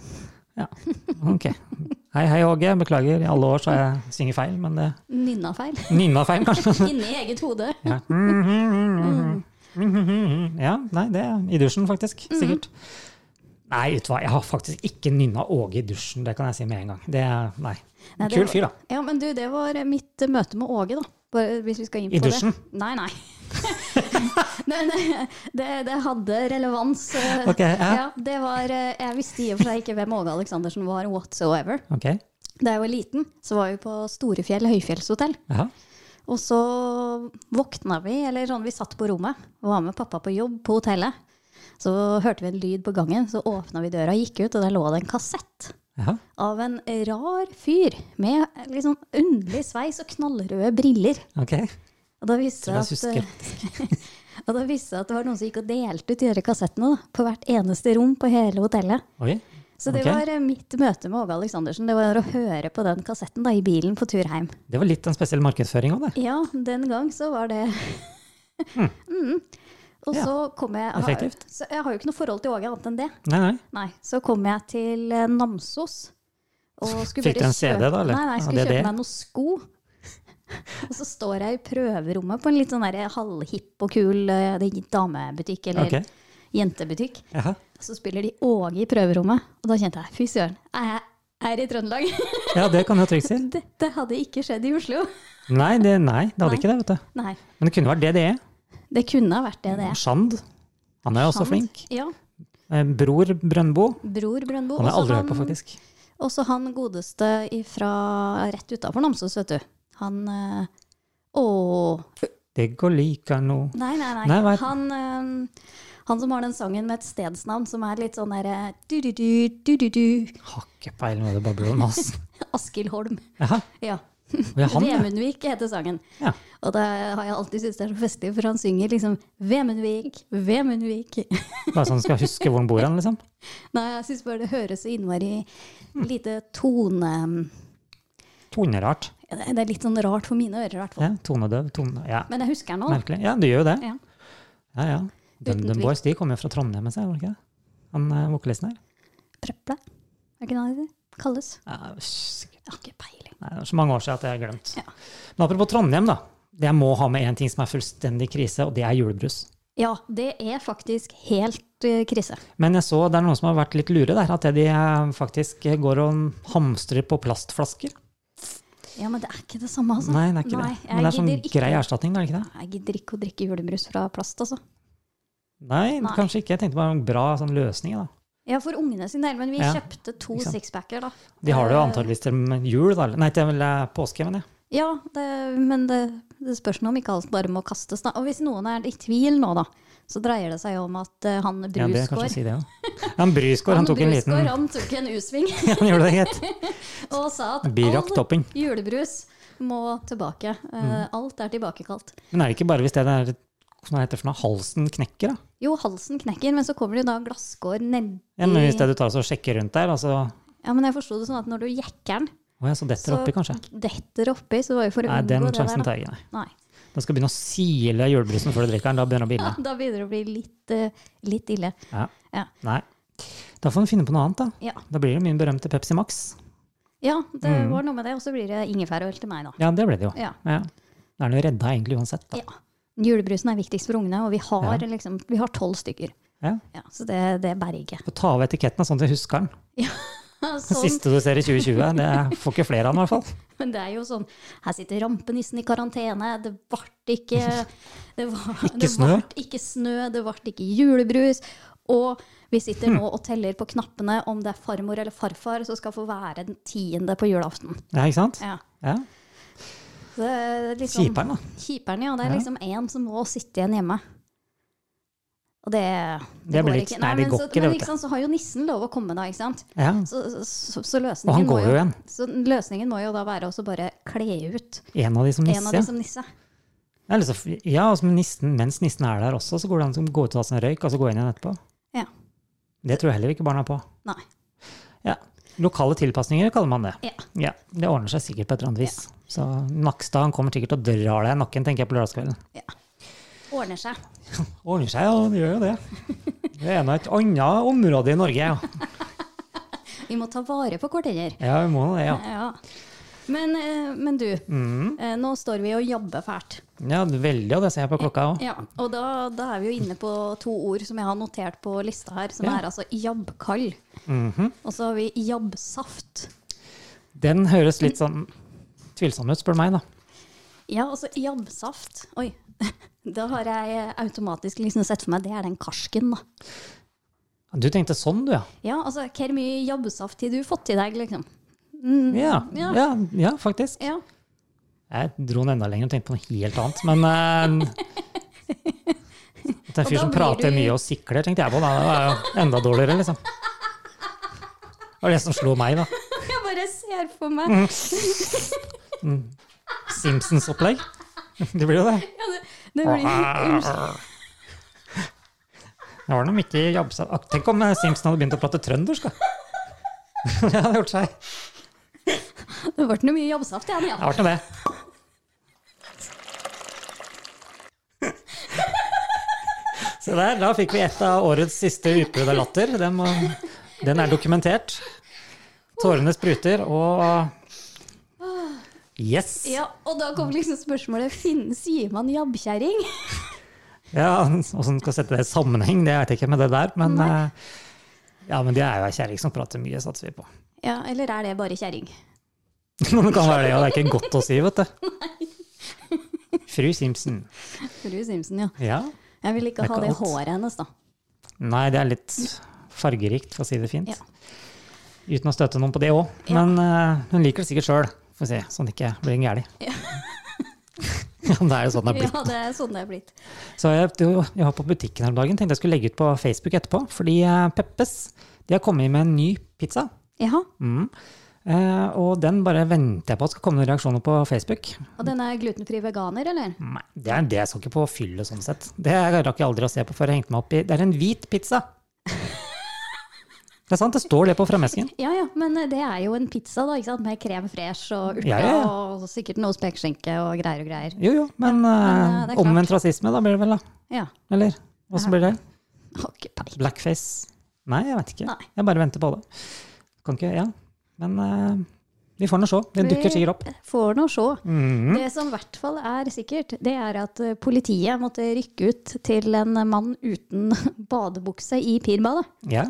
Speaker 2: Ja, ok. Hei, hei, Åge. Beklager, i alle år så har jeg synger feil, men det
Speaker 3: Nynna feil.
Speaker 2: nynna feil, kanskje.
Speaker 3: Inni eget hode.
Speaker 2: Ja.
Speaker 3: Mhm.
Speaker 2: ja, nei, det er i dusjen, faktisk. Sikkert. Nei, vet du hva, jeg har faktisk ikke nynna Åge i dusjen, det kan jeg si med en gang. Det er, nei.
Speaker 3: Nei, det
Speaker 2: Kul
Speaker 3: var-
Speaker 2: fyr, da.
Speaker 3: Ja, men du, det var mitt eh, møte med Åge, da. Bare hvis vi skal inn
Speaker 2: I
Speaker 3: på
Speaker 2: dusjen?
Speaker 3: det. Nei, nei. Men eh, det, det hadde relevans. eh,
Speaker 2: Ok, ja.
Speaker 3: det var, eh, jeg visste i og for seg ikke hvem Åge Aleksandersen var whatsoever.
Speaker 2: Ok,
Speaker 3: Da jeg var liten, så var vi på Storefjell høyfjellshotell.
Speaker 2: jaha.
Speaker 3: Og så våkna vi, eller sånn, vi satt på rommet og var med pappa på jobb på hotellet. Så hørte vi en lyd på gangen, så åpna vi døra og gikk ut, og der lå det en kassett
Speaker 2: jaha.
Speaker 3: av en rar fyr med litt sånn underlig sveis og knallrøde briller.
Speaker 2: Ok.
Speaker 3: Og da visste
Speaker 2: Tror jeg
Speaker 3: jeg
Speaker 2: husker.
Speaker 3: at, og da visste jeg at det var noen som gikk og delte ut de der kassettene da, på hvert eneste rom på hele hotellet.
Speaker 2: Oi.
Speaker 3: Så det
Speaker 2: Ok.
Speaker 3: var eh, mitt møte med Åge Aleksandersen. Det var å høre på den kassetten da, i bilen på tur hjem.
Speaker 2: Det var litt en spesiell markedsføring òg, det.
Speaker 3: Ja, den gang så var det Mm. Og
Speaker 2: Hmm. Ja.
Speaker 3: så kom jeg har-
Speaker 2: Effektivt.
Speaker 3: Så jeg har jo ikke noe forhold til Åge annet enn det.
Speaker 2: Nei, nei.
Speaker 3: Nei, så kom jeg til eh, Namsos. Og skulle
Speaker 2: Fikk du
Speaker 3: bare
Speaker 2: en CD
Speaker 3: kjøpe-
Speaker 2: da, eller?
Speaker 3: Nei, nei, jeg skulle
Speaker 2: Ah, det er
Speaker 3: kjøpe
Speaker 2: det.
Speaker 3: meg noen sko. Og så står jeg i prøverommet på en litt sånn der halvhipp og kul eh, det er damebutikk eller
Speaker 2: Ok.
Speaker 3: jentebutikk.
Speaker 2: Jaha.
Speaker 3: Og så spiller de Åge i prøverommet, og da kjente jeg fy søren, jeg er i Trøndelag.
Speaker 2: Ja, det kan jo trygt si.
Speaker 3: Dette hadde ikke skjedd i Oslo.
Speaker 2: Nei, det, nei, det hadde
Speaker 3: Nei.
Speaker 2: ikke det, vet du.
Speaker 3: Nei,
Speaker 2: Men det kunne vært DDE.
Speaker 3: det kunne ha vært det det er.
Speaker 2: Shand. Han er jo også
Speaker 3: Han-
Speaker 2: flink.
Speaker 3: Ja.
Speaker 2: Eh, Bror Brøndbo.
Speaker 3: Bror Brøndbo.
Speaker 2: Han har jeg
Speaker 3: også
Speaker 2: aldri hørt på, faktisk.
Speaker 3: Også han godeste fra rett utafor Namsos, vet du. Han eh, Å
Speaker 2: Det går like nå.
Speaker 3: Nei, nei, nei.
Speaker 2: Nei, hva er-
Speaker 3: han, eh, han som har den sangen med et stedsnavn som er litt sånn derre du-du-du, du-du-du.
Speaker 2: Har ikke peiling hva det babler om, ass.
Speaker 3: Askild Holm.
Speaker 2: Jaha.
Speaker 3: Ja.
Speaker 2: Og ja, han, ja.
Speaker 3: Vemundvik heter sangen.
Speaker 2: Ja.
Speaker 3: Og det har jeg alltid syntes det er så festlig, for han synger liksom Vemundvik, Vemundvik.
Speaker 2: Bare så han skal huske hvor han bor hen, liksom.
Speaker 3: Nei, jeg syns bare det høres så innmari lite tone
Speaker 2: Tonerart.
Speaker 3: Det er litt sånn rart for mine ører, i hvert fall.
Speaker 2: Ja, tonedøv. Tone... Ja,
Speaker 3: Men jeg husker den nå.
Speaker 2: merkelig. Ja, du gjør jo det.
Speaker 3: Ja.
Speaker 2: Ja, ja.
Speaker 3: Uten
Speaker 2: DumDum
Speaker 3: tvil.
Speaker 2: Boys de kommer jo fra Trondheim, med seg, gjør de ikke det? Han eh, vokalisten her.
Speaker 3: Prøple? Er ikke det det heter? kalles?
Speaker 2: Ja, sikkert.
Speaker 3: Jeg har ikke peiling.
Speaker 2: Nei, det er så mange år siden at jeg har glemt.
Speaker 3: Ja.
Speaker 2: Men apropos Trondheim, da. Det Jeg må ha med én ting som er fullstendig krise, og det er julebrus.
Speaker 3: Ja, det er faktisk helt eh, krise.
Speaker 2: Men jeg så det er noen som har vært litt lure der, at de eh, faktisk går og hamstrer på plastflasker.
Speaker 3: Ja, men det er ikke det samme, altså.
Speaker 2: Nei, det er ikke
Speaker 3: Nei,
Speaker 2: det. Men det er sånn
Speaker 3: jeg gidder ikke.
Speaker 2: grei erstatning, da, er det ikke det?
Speaker 3: Jeg gidder ikke å drikke julebrus fra plast, altså.
Speaker 2: Nei,
Speaker 3: Nei.
Speaker 2: kanskje ikke. Jeg tenkte bare en bra sånn løsning, da.
Speaker 3: Ja, for ungene sin del, men vi
Speaker 2: Ja,
Speaker 3: kjøpte to
Speaker 2: ikke sant.
Speaker 3: sixpacker, da.
Speaker 2: De har det jo
Speaker 3: Eh,
Speaker 2: antageligvis til mm, jul, da. eller- Nei, til eh, påske, men jeg.
Speaker 3: Ja, det, men det, det spørs nå om ikke alt bare må kastes, da. Og hvis noen er i tvil nå, da, så dreier det seg om at eh, han
Speaker 2: Ja, det er kanskje å
Speaker 3: Brusgård
Speaker 2: si det, ja. ja men Brusgård, han tok en liten
Speaker 3: Brusgård, han tok en U-sving
Speaker 2: Han gjorde det, gitt.
Speaker 3: og sa at
Speaker 2: Birakk
Speaker 3: all
Speaker 2: topping. Mm.
Speaker 3: julebrus må tilbake. Eh, Alt er tilbakekalt.
Speaker 2: Men er det ikke bare hvis det der hva heter det for noe, halsen knekker, da?
Speaker 3: Jo, halsen knekker, men så kommer det jo da glasskår nedi
Speaker 2: Ja, men
Speaker 3: Mm.
Speaker 2: hvis det du tar og så sjekker rundt der, altså
Speaker 3: Ja, men jeg forsto det sånn at når du jekker den,
Speaker 2: Å ja, så detter det
Speaker 3: Så-
Speaker 2: oppi, kanskje?
Speaker 3: detter oppi, så det var jo for å
Speaker 2: Nei, den
Speaker 3: unngå det
Speaker 2: sjansen
Speaker 3: der. Da.
Speaker 2: tar jeg ikke, nei.
Speaker 3: Nei.
Speaker 2: Den skal begynne å sile julebrusen før du drikker den. Da begynner det å
Speaker 3: Ja,
Speaker 2: bilde.
Speaker 3: da begynner det å bli litt, eh, litt ille.
Speaker 2: Ja.
Speaker 3: Ja.
Speaker 2: Nei. Da får en finne på noe annet, da.
Speaker 3: Ja,
Speaker 2: Da blir det min berømte Pepsi Max.
Speaker 3: ja det var noe med det. Og så blir det ingefærøl til meg, da.
Speaker 2: Ja, det ble det jo.
Speaker 3: Ja.
Speaker 2: Mm. Ja. Da er den jo redda egentlig uansett, da.
Speaker 3: ja. Julebrusen er viktigst for ungene, og vi har
Speaker 2: Ja.
Speaker 3: tolv liksom, vi har 12 stykker.
Speaker 2: Ja.
Speaker 3: Ja, så det, det bærer ikke.
Speaker 2: Få ta av etiketten sånn at jeg husker den. Den
Speaker 3: Sånn,
Speaker 2: siste du ser i 2020. Det er- får ikke flere av den, i hvert fall.
Speaker 3: men det er jo sånn Her sitter rampenissen i karantene. Det ble ikke det var, det
Speaker 2: snø.
Speaker 3: Ble ikke snø. Det ble ikke julebrus. Og vi sitter nå og teller på knappene om det er farmor eller farfar som skal få være den tiende på julaften.
Speaker 2: Ja, ikke sant?
Speaker 3: Ja.
Speaker 2: Ja.
Speaker 3: Så det er liksom,
Speaker 2: Kjiperen, da.
Speaker 3: Kjiperen, ja. Det er
Speaker 2: Ja.
Speaker 3: liksom én som må sitte igjen hjemme. Og det,
Speaker 2: Det blir
Speaker 3: går
Speaker 2: ikke- nei, det
Speaker 3: men
Speaker 2: går
Speaker 3: så,
Speaker 2: ikke, det,
Speaker 3: men
Speaker 2: vet du.
Speaker 3: ikke sant, så har jo nissen lov å komme da, ikke sant?
Speaker 2: Ja.
Speaker 3: Så, så, så løsningen
Speaker 2: Og han går
Speaker 3: må
Speaker 2: jo igjen.
Speaker 3: Så løsningen må jo da være også bare kle ut
Speaker 2: En av de som
Speaker 3: en av
Speaker 2: nisse.
Speaker 3: de
Speaker 2: ja.
Speaker 3: som nisse.
Speaker 2: Ja, Eller så, ja, altså, men nissen, mens nissen er der også, så går det an å gå ut og ta seg en røyk, og så gå inn igjen etterpå.
Speaker 3: Ja.
Speaker 2: Det tror jeg heller ikke barna er på.
Speaker 3: Nei.
Speaker 2: Ja. Lokale tilpasninger kaller man det.
Speaker 3: Ja.
Speaker 2: Ja, Det ordner seg sikkert på et eller annet vis. Så Nakstad han kommer sikkert og drar deg i nakken, tenker jeg på lørdagskvelden.
Speaker 3: Ordner seg.
Speaker 2: Ordner seg, ja. Det gjør jo det. Det er nå et annet område i Norge, ja.
Speaker 3: Vi må ta vare på hverandre.
Speaker 2: Ja, vi må nå det, ja.
Speaker 3: Ja. Men, eh, men du, eh, nå står vi og jabber fælt.
Speaker 2: Ja, Veldig, og det ser jeg på klokka òg.
Speaker 3: Ja, og da, da er vi jo inne på to ord som jeg har notert på lista her, som
Speaker 2: Ja.
Speaker 3: er altså jabbkall. Og så har vi jabbsaft.
Speaker 2: Den høres litt sånn tvilsom ut, spør du meg, da.
Speaker 3: Ja, altså jabbsaft. Oi. Da har jeg eh, automatisk liksom sett for meg det er den karsken, da.
Speaker 2: Du tenkte sånn, du, ja.
Speaker 3: Ja, altså hvor mye jabbsaft har du fått i deg, liksom?
Speaker 2: Ja,
Speaker 3: Ja.
Speaker 2: ja, ja faktisk.
Speaker 3: Ja.
Speaker 2: Jeg dro den enda lenger og tenkte på noe helt annet. Men eh, at en
Speaker 3: Og
Speaker 2: fyr
Speaker 3: da
Speaker 2: som
Speaker 3: blir
Speaker 2: prater
Speaker 3: du-
Speaker 2: mye og sikler, tenkte jeg på. Da. Det var jo enda dårligere, liksom. Det var det som slo meg, da.
Speaker 3: Jeg bare ser for meg
Speaker 2: Simpsons-opplegg. Det blir jo det.
Speaker 3: ja, det, det blir,
Speaker 2: Det var noe midt i jobbsa... Ak- Tenk om eh, Simpson hadde begynt å prate trøndersk, da. Det hadde gjort seg.
Speaker 3: Det ble noe mye jabbsaft igjen, ja.
Speaker 2: Det var ikke det. Se der, da fikk vi et av årets siste utbrudd av latter. Den, må, den er dokumentert. Tårene spruter, og Yes!
Speaker 3: Ja, og da kommer liksom spørsmålet Finn, sier man jabbkjerring?
Speaker 2: Ja, Åssen skal sette det i sammenheng, det vet jeg ikke med det der. Men, eh, ja, men det er jo ei kjerring som prater mye, satser vi på.
Speaker 3: Ja, eller er det bare kjerring?
Speaker 2: Men det kan være det, og det er ikke godt å si, vet du. Fru Simpson.
Speaker 3: Fru Simpson, ja.
Speaker 2: Ja.
Speaker 3: Jeg vil ikke
Speaker 2: Det er
Speaker 3: ha
Speaker 2: ikke
Speaker 3: det
Speaker 2: alt.
Speaker 3: håret hennes, da.
Speaker 2: Nei, det er litt fargerikt, for å si det fint.
Speaker 3: Ja.
Speaker 2: Uten å støte noen på det òg.
Speaker 3: Ja.
Speaker 2: Men eh, hun liker det sikkert sjøl, får vi se, sånn det ikke blir en gæli.
Speaker 3: Ja.
Speaker 2: Ja, men det er jo sånn det er blitt.
Speaker 3: Ja, det er sånn det er blitt.
Speaker 2: Så jeg, det var- jeg var på butikken her om dagen, tenkte jeg skulle legge ut på Facebook etterpå, fordi eh, Peppes de har kommet med en ny pizza.
Speaker 3: Ja,
Speaker 2: Mm. Eh, og den bare venter jeg på at skal komme noen reaksjoner på Facebook.
Speaker 3: Og den er glutenfri veganer, eller?
Speaker 2: Nei, det er det jeg skal ikke på fyllet sånn sett. Det rakk jeg aldri å se på før jeg hengte meg opp i. Det er en hvit pizza! Det er sant, det står det på fremesken.
Speaker 3: Ja ja, men eh, det er jo en pizza da, ikke sant? med krem fresh og urter
Speaker 2: Ja, ja, ja.
Speaker 3: og sikkert noe spekeskinke og greier og greier.
Speaker 2: Jo jo, men
Speaker 3: Men, eh,
Speaker 2: eh,
Speaker 3: det er klart.
Speaker 2: omvendt rasisme da blir det vel, da?
Speaker 3: Ja.
Speaker 2: Eller? Åssen blir det?
Speaker 3: Har ikke peiling.
Speaker 2: Blackface? Nei, jeg vet ikke.
Speaker 3: Nei.
Speaker 2: Jeg bare venter på det. Kan ikke, ja. Men eh, vi får nå se. Det dukker sikkert opp.
Speaker 3: Får nå se.
Speaker 2: Mhm.
Speaker 3: Det som i hvert fall er sikkert, det er at eh, politiet måtte rykke ut til en mann uten badebukse i pirbadet.
Speaker 2: Ja.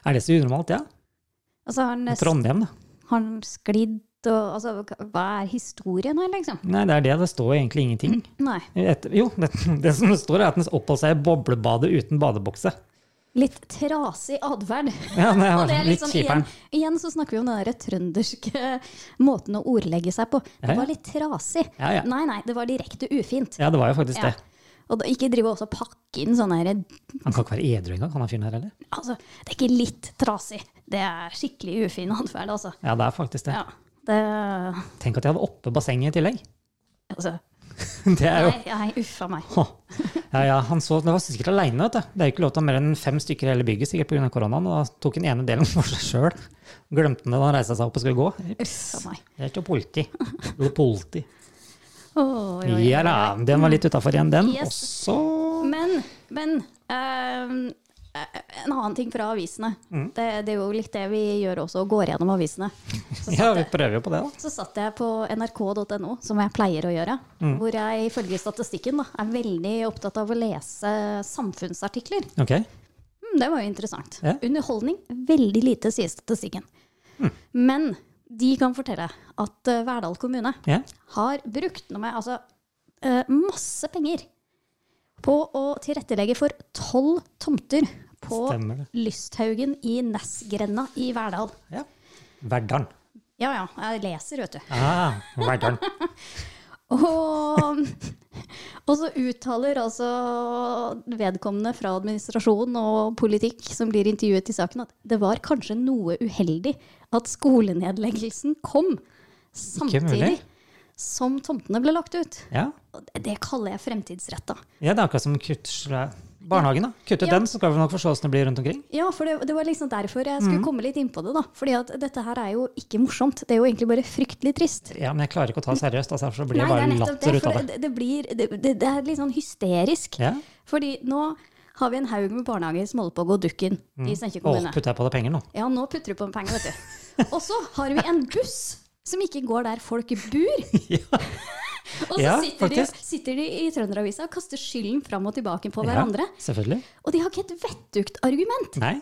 Speaker 2: Er det så unormalt, ja?
Speaker 3: Altså, har han,
Speaker 2: I
Speaker 3: eh,
Speaker 2: Trondheim, da.
Speaker 3: har han sklidd og altså, Hva er historien her, liksom?
Speaker 2: Nei, det er det. Det står egentlig ingenting.
Speaker 3: Nei.
Speaker 2: Et, jo, det, det som står, er at den oppholdt seg i boblebadet uten badebukse.
Speaker 3: Litt trasig atferd.
Speaker 2: Ja, det
Speaker 3: Og
Speaker 2: var
Speaker 3: det er
Speaker 2: litt
Speaker 3: liksom, igjen,
Speaker 2: kjiperen.
Speaker 3: igjen så snakker vi om den der trønderske måten å ordlegge seg på.
Speaker 2: Ja,
Speaker 3: Det
Speaker 2: ja.
Speaker 3: var litt trasig.
Speaker 2: Ja, ja.
Speaker 3: Nei, nei, det var direkte ufint.
Speaker 2: Ja, det var jo faktisk
Speaker 3: Ja.
Speaker 2: det.
Speaker 3: Og da, ikke drive også og pakke inn sånn her
Speaker 2: Han kan ikke være edru engang, han er fyren her heller.
Speaker 3: Altså, det er ikke litt trasig. Det er skikkelig ufin atferd, altså.
Speaker 2: Ja, det er faktisk det.
Speaker 3: Ja. Det
Speaker 2: Tenk at jeg hadde oppe bassenget i tillegg.
Speaker 3: Altså,
Speaker 2: Det er jo
Speaker 3: nei, nei, uffa meg.
Speaker 2: Hå. Ja, ja, han så, det var sikkert aleine, vet du. Det er jo ikke lov til å ha mer enn fem stykker i hele bygget, sikkert pga. koronaen. Og da tok den ene delen for seg sjøl. Glemte den da han reiste seg opp og skulle gå.
Speaker 3: Uffa meg.
Speaker 2: Det er ikke politi. Eller politi.
Speaker 3: Oi, oi, oi.
Speaker 2: Ja da, den var litt utafor igjen, den.
Speaker 3: Yes.
Speaker 2: Og så
Speaker 3: Men, men ehm, eh, en annen ting fra avisene. Det, det er jo litt det vi gjør også, går gjennom avisene. Så
Speaker 2: Ja, vi prøver jo på det, da.
Speaker 3: Så satt jeg på nrk.no, som jeg pleier å gjøre. Hvor jeg ifølge statistikken da, er veldig opptatt av å lese samfunnsartikler.
Speaker 2: Ok.
Speaker 3: Hmm, det var jo interessant.
Speaker 2: Ja.
Speaker 3: Underholdning, veldig lite, sier statistikken. Men de kan fortelle at eh, Verdal kommune
Speaker 2: Ja.
Speaker 3: har brukt noe med, altså, eh, masse penger på å tilrettelegge for tolv tomter på
Speaker 2: Stemmer det.
Speaker 3: Lysthaugen i Nessgrenda i Verdal.
Speaker 2: ja. Verdalen.
Speaker 3: Ja ja, jeg leser, vet du.
Speaker 2: Ah, Verdalen.
Speaker 3: Og, og så uttaler altså vedkommende fra administrasjon og politikk som blir intervjuet i saken, at det var kanskje noe uheldig at skolenedleggelsen kom samtidig
Speaker 2: mulig.
Speaker 3: som tomtene ble lagt ut.
Speaker 2: Ja.
Speaker 3: Og det- Det kaller jeg fremtidsretta.
Speaker 2: ja, det er akkurat som kutter barnehagen, da. Kutte
Speaker 3: Ja.
Speaker 2: den, så skal vi nok forstå åssen det blir rundt omkring.
Speaker 3: Ja, for det, det var liksom derfor jeg
Speaker 2: Mhm.
Speaker 3: skulle komme litt inn på det. da. Fordi at dette her er jo ikke morsomt. Det er jo egentlig bare fryktelig trist.
Speaker 2: Ja, men jeg klarer ikke å ta det seriøst, altså, for så blir
Speaker 3: Nei,
Speaker 2: det
Speaker 3: det er
Speaker 2: bare
Speaker 3: nettopp det.
Speaker 2: latter ut av
Speaker 3: For
Speaker 2: det.
Speaker 3: det, det, blir, det, det, det er litt sånn hysterisk.
Speaker 2: Ja.
Speaker 3: Fordi nå har vi en haug med barnehager som holder på å gå dukken
Speaker 2: Mm.
Speaker 3: i
Speaker 2: Å,
Speaker 3: Steinkjer kommune.
Speaker 2: putter jeg på deg penger nå?
Speaker 3: Ja, nå putter du på med penger, vet du. Og så har vi en buss som ikke går der folk bor. Og så
Speaker 2: Ja,
Speaker 3: sitter, de,
Speaker 2: faktisk.
Speaker 3: sitter de i Trønderavisa og kaster skylden fram og tilbake på
Speaker 2: Ja,
Speaker 3: hverandre.
Speaker 2: Selvfølgelig.
Speaker 3: Og de har ikke et vettugt argument.
Speaker 2: Nei.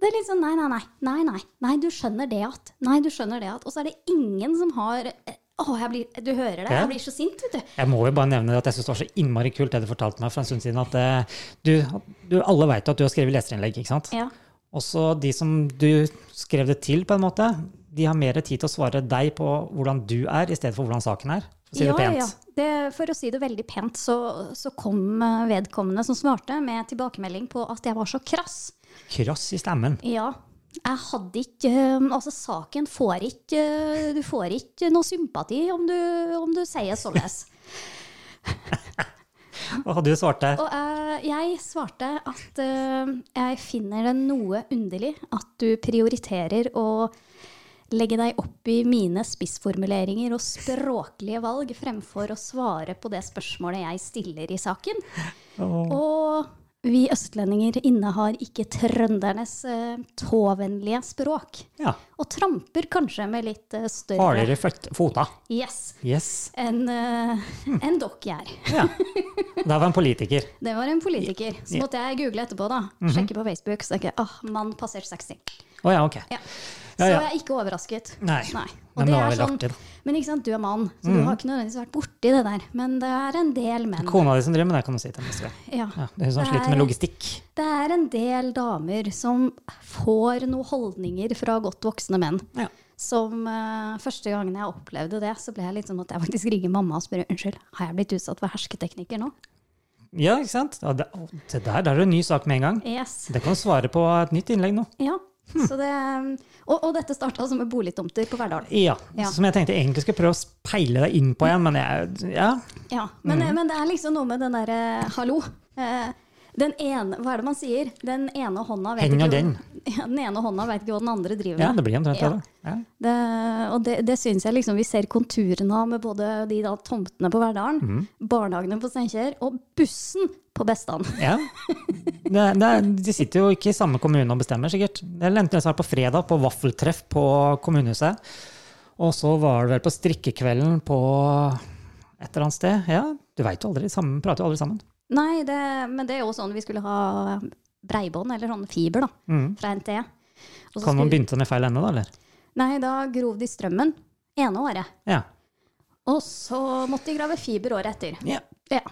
Speaker 3: Det er litt sånn nei, nei, nei. Nei, nei. Nei, du skjønner det at. Nei, du skjønner det at. Og så er det ingen som har eh, Å, jeg blir, du hører det.
Speaker 2: Ja.
Speaker 3: Jeg blir så sint, vet du.
Speaker 2: Jeg må jo bare nevne at jeg syns det var så innmari kult det du fortalte meg for en stund siden. At eh, du, du, alle veit at du har skrevet leserinnlegg, ikke sant?
Speaker 3: Ja.
Speaker 2: Og så de som du skrev det til, på en måte, de har mer tid til å svare deg på hvordan du er, i stedet for hvordan saken er. For å si
Speaker 3: ja,
Speaker 2: det pent.
Speaker 3: Ja. Det, for å si det veldig pent, så, så kom eh, vedkommende som svarte, med tilbakemelding på at jeg var så krass.
Speaker 2: Krass i stemmen.
Speaker 3: Ja. Jeg hadde ikke eh, Altså, saken får ikke eh, Du får ikke noe sympati om du, om du sier sånn. således.
Speaker 2: Og du svarte
Speaker 3: Og eh, jeg svarte at eh, jeg finner det noe underlig at du prioriterer å legge deg opp i mine spissformuleringer og språklige valg fremfor å svare på det spørsmålet jeg stiller i saken.
Speaker 2: Åh.
Speaker 3: Og Vi østlendinger innehar ikke trøndernes eh, tåvennlige språk.
Speaker 2: Ja.
Speaker 3: Og tramper kanskje med litt eh, større
Speaker 2: Hardere føt- fota.
Speaker 3: yes
Speaker 2: Yes.
Speaker 3: enn eh, enn dere gjør.
Speaker 2: Ja. Der var en politiker.
Speaker 3: Det var en politiker. Så måtte jeg google etterpå, da.
Speaker 2: Mhm.
Speaker 3: Sjekke på Facebook. Så tenker jeg ah, mann passert 60.
Speaker 2: Å ja, ok.
Speaker 3: Ja.
Speaker 2: Ja,
Speaker 3: Så
Speaker 2: ja.
Speaker 3: jeg er ikke overrasket.
Speaker 2: Nei.
Speaker 3: Og
Speaker 2: Men
Speaker 3: det
Speaker 2: det var
Speaker 3: er
Speaker 2: veldig
Speaker 3: sånn,
Speaker 2: artig, da. Mhm.
Speaker 3: men ikke sant, du er mann, så du har ikke nødvendigvis vært borti det der. Men det er en del menn.
Speaker 2: Kona di som driver med det, kan du si til neste gang.
Speaker 3: Ja.
Speaker 2: Ja, det er hun som
Speaker 3: Det
Speaker 2: sliter
Speaker 3: er-
Speaker 2: med logistikk.
Speaker 3: Det er en del damer som får noen holdninger fra godt voksne menn.
Speaker 2: Ja.
Speaker 3: Som eh, Første gangen jeg opplevde det, så ble jeg litt sånn at jeg faktisk ringer mamma og spør unnskyld, har jeg blitt utsatt for hersketeknikker nå?
Speaker 2: ja, ikke sant? Ja, det, å, det der, der er det en ny sak med en gang.
Speaker 3: Yes.
Speaker 2: Det kan du svare på et nytt innlegg nå.
Speaker 3: Ja.
Speaker 2: Hm.
Speaker 3: Så det, eh, og, og dette starta som med boligtomter på Verdal.
Speaker 2: Ja,
Speaker 3: Ja.
Speaker 2: Som jeg tenkte egentlig skulle prøve å speile deg inn på igjen, men jeg Ja.
Speaker 3: Ja, men,
Speaker 2: Mm.
Speaker 3: men det er liksom noe med den derre hallo. Eh, den ene, hva er det man sier? Den ene hånda vet
Speaker 2: Henger
Speaker 3: ikke
Speaker 2: den.
Speaker 3: Hva, ja, den ene hånda vet ikke hva den andre driver
Speaker 2: ja
Speaker 3: med.
Speaker 2: det blir omtrent
Speaker 3: Ja.
Speaker 2: det. da. Ja.
Speaker 3: Det, og det, det syns jeg liksom vi ser konturene av med både de da tomtene på Verdalen,
Speaker 2: Mm.
Speaker 3: barnehagene på Steinkjer og bussen på Bestand.
Speaker 2: Ja. Det, det, de sitter jo ikke i samme kommune og bestemmer, sikkert. Det lente jeg seg på fredag, på vaffeltreff på kommunehuset. Og så var det vel på strikkekvelden på et eller annet sted. Ja, du veit jo aldri. Sammen, prater jo aldri sammen.
Speaker 3: Nei, det, men det er jo sånn vi skulle ha breibånd, eller sånn fiber, da, fra NTE. Og
Speaker 2: Mm. Kan
Speaker 3: så
Speaker 2: man
Speaker 3: skulle-
Speaker 2: begynte med feil ende, da, eller?
Speaker 3: Nei, da grov de strømmen ene året.
Speaker 2: Ja.
Speaker 3: Og så måtte de grave fiber året etter.
Speaker 2: ja.
Speaker 3: Ja.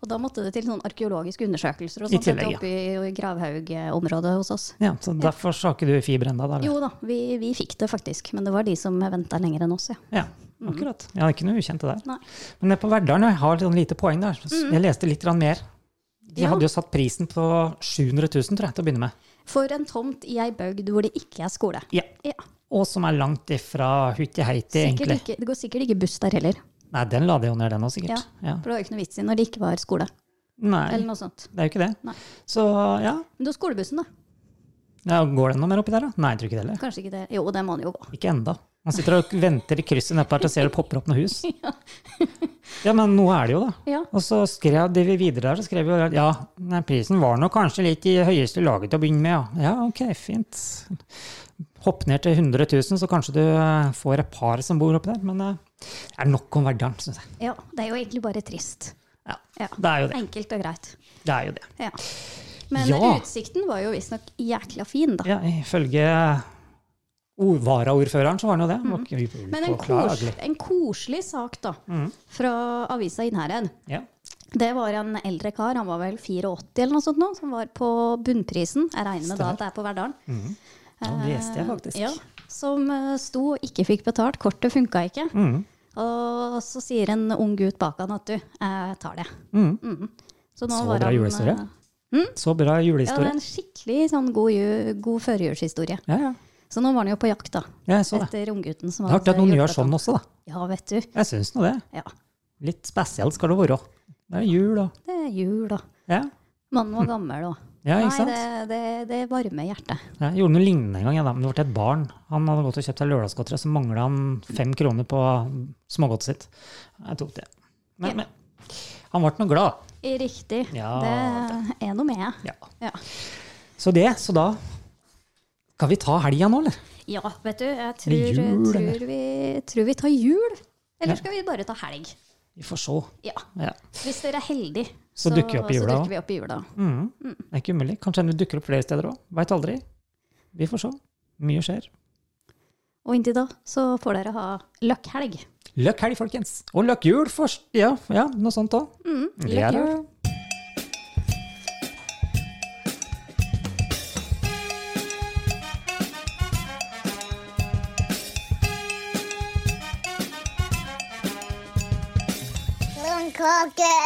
Speaker 3: Og da måtte det til sånn arkeologiske undersøkelser
Speaker 2: I
Speaker 3: og sånt dette
Speaker 2: tillegg, ja.
Speaker 3: oppe i Gravhaug-området hos oss.
Speaker 2: ja så derfor så har ikke du fiber ennå, da? Eller?
Speaker 3: Jo da, vi, vi fikk det faktisk, men det var de som venta lenger enn oss, ja.
Speaker 2: Ja,
Speaker 3: Mm-hmm.
Speaker 2: akkurat. Ja, det er ikke noe ukjent det der.
Speaker 3: Nei.
Speaker 2: Men det på Verdalen, jeg har litt sånn lite poeng der. så Jeg leste litt grann mer. De
Speaker 3: Mm. Ja.
Speaker 2: hadde jo satt prisen på 700 000, tror jeg, til å begynne med.
Speaker 3: For en tomt i ei bygd hvor det ikke er skole.
Speaker 2: Ja.
Speaker 3: Ja,
Speaker 2: Og som er langt ifra Huti-Heiti,
Speaker 3: sikkert
Speaker 2: egentlig.
Speaker 3: ikke, Det går sikkert ikke buss der heller,
Speaker 2: Nei, den la de jo ned, den òg,
Speaker 3: Ja.
Speaker 2: sikkert. Ja.
Speaker 3: for det var jo ikke noe vits i når det ikke var skole.
Speaker 2: Nei,
Speaker 3: Eller noe sånt.
Speaker 2: det er jo ikke det.
Speaker 3: Nei.
Speaker 2: Så ja.
Speaker 3: Men det var skolebussen, da.
Speaker 2: ja, går den noe mer oppi der, da? Nei, jeg tror ikke det heller.
Speaker 3: Kanskje ikke det. Jo, det må den jo gå.
Speaker 2: Ikke enda. Man sitter og venter i krysset nedpå her til å se det popper opp noen hus. Ja, men noe er det jo, da.
Speaker 3: Ja.
Speaker 2: Og så skrev de videre der, så skrev jo at ja, nei, prisen var nok kanskje litt i høyeste laget til å begynne med, ja. Ja, ok, fint. Hopp ned til 100 000, så kanskje du eh, får et par som bor oppi der. Men eh, det er nok om Verdalen, syns jeg.
Speaker 3: ja. Det er jo egentlig bare trist.
Speaker 2: Ja,
Speaker 3: Ja.
Speaker 2: det er jo det.
Speaker 3: Enkelt og greit.
Speaker 2: Det er jo det.
Speaker 3: Ja. Men
Speaker 2: Ja.
Speaker 3: utsikten var jo visstnok jækla fin, da.
Speaker 2: Ja, ifølge o- varaordføreren så var det jo det. Det var ikke
Speaker 3: Mhm. Men en, kos,
Speaker 2: upåklagelig.
Speaker 3: en koselig sak, da,
Speaker 2: Mm.
Speaker 3: fra avisa Innherred.
Speaker 2: Ja.
Speaker 3: Det var en eldre kar, han var vel 84 eller noe sånt nå, som var på Bunnprisen. Jeg regner med da at det er på Verdalen.
Speaker 2: Ja, det leste jeg faktisk.
Speaker 3: Eh, Ja, som eh, sto og ikke fikk betalt. Kortet funka ikke.
Speaker 2: Mm.
Speaker 3: Og så sier en ung gutt bak han at du, jeg tar det. Mhm. nå
Speaker 2: Mm. Så
Speaker 3: var
Speaker 2: bra
Speaker 3: han, eh,
Speaker 2: julehistorie. Så bra
Speaker 3: Ja, det er
Speaker 2: julehistorie.
Speaker 3: en skikkelig sånn god, ju- god førjulshistorie.
Speaker 2: Ja, ja.
Speaker 3: Så nå var han jo på jakt, da.
Speaker 2: ja jeg så det.
Speaker 3: Etter unggutten som
Speaker 2: Det er artig at noen gjør
Speaker 3: hjulpet
Speaker 2: sånn
Speaker 3: han.
Speaker 2: også, da.
Speaker 3: Ja, vet du.
Speaker 2: Jeg syns nå det.
Speaker 3: Ja,
Speaker 2: Litt spesielt skal det være. Det er jul og
Speaker 3: det er jul, da.
Speaker 2: Ja,
Speaker 3: Mannen var gammel òg.
Speaker 2: ja ikke
Speaker 3: Nei,
Speaker 2: sant?
Speaker 3: det, det, det varmer hjertet.
Speaker 2: Ja, jeg gjorde noe lignende en gang, jeg, da, men det var til et barn. Han hadde gått og kjøpt seg lørdagsgodteri, så mangla han fem kroner på smågodtet sitt. Jeg tok det.
Speaker 3: Ja.
Speaker 2: Men, men han ble nå glad.
Speaker 3: Riktig.
Speaker 2: Ja,
Speaker 3: det er noe med.
Speaker 2: Ja.
Speaker 3: Ja.
Speaker 2: Så det, så da Kan vi ta helga nå, eller?
Speaker 3: ja, vet du, jeg
Speaker 2: Det er
Speaker 3: tror,
Speaker 2: jul,
Speaker 3: tror, vi, tror vi tar jul.
Speaker 2: Ja.
Speaker 3: Eller skal vi bare ta helg?
Speaker 2: Vi får se.
Speaker 3: Ja.
Speaker 2: Ja.
Speaker 3: Hvis dere er heldige,
Speaker 2: Så dukker vi opp i jula
Speaker 3: så
Speaker 2: også.
Speaker 3: dukker vi opp i jula.
Speaker 2: Mhm. Det er ikke umulig. Kanskje det dukker opp flere steder òg. Veit aldri. Vi får se. Mye skjer.
Speaker 3: Og inntil da så får dere ha løkkhelg.
Speaker 2: Løkk helg, folkens! Og løkk jul! Først. Ja, ja, noe sånt òg.
Speaker 3: Mm,
Speaker 2: Det er det.
Speaker 4: Blomkake!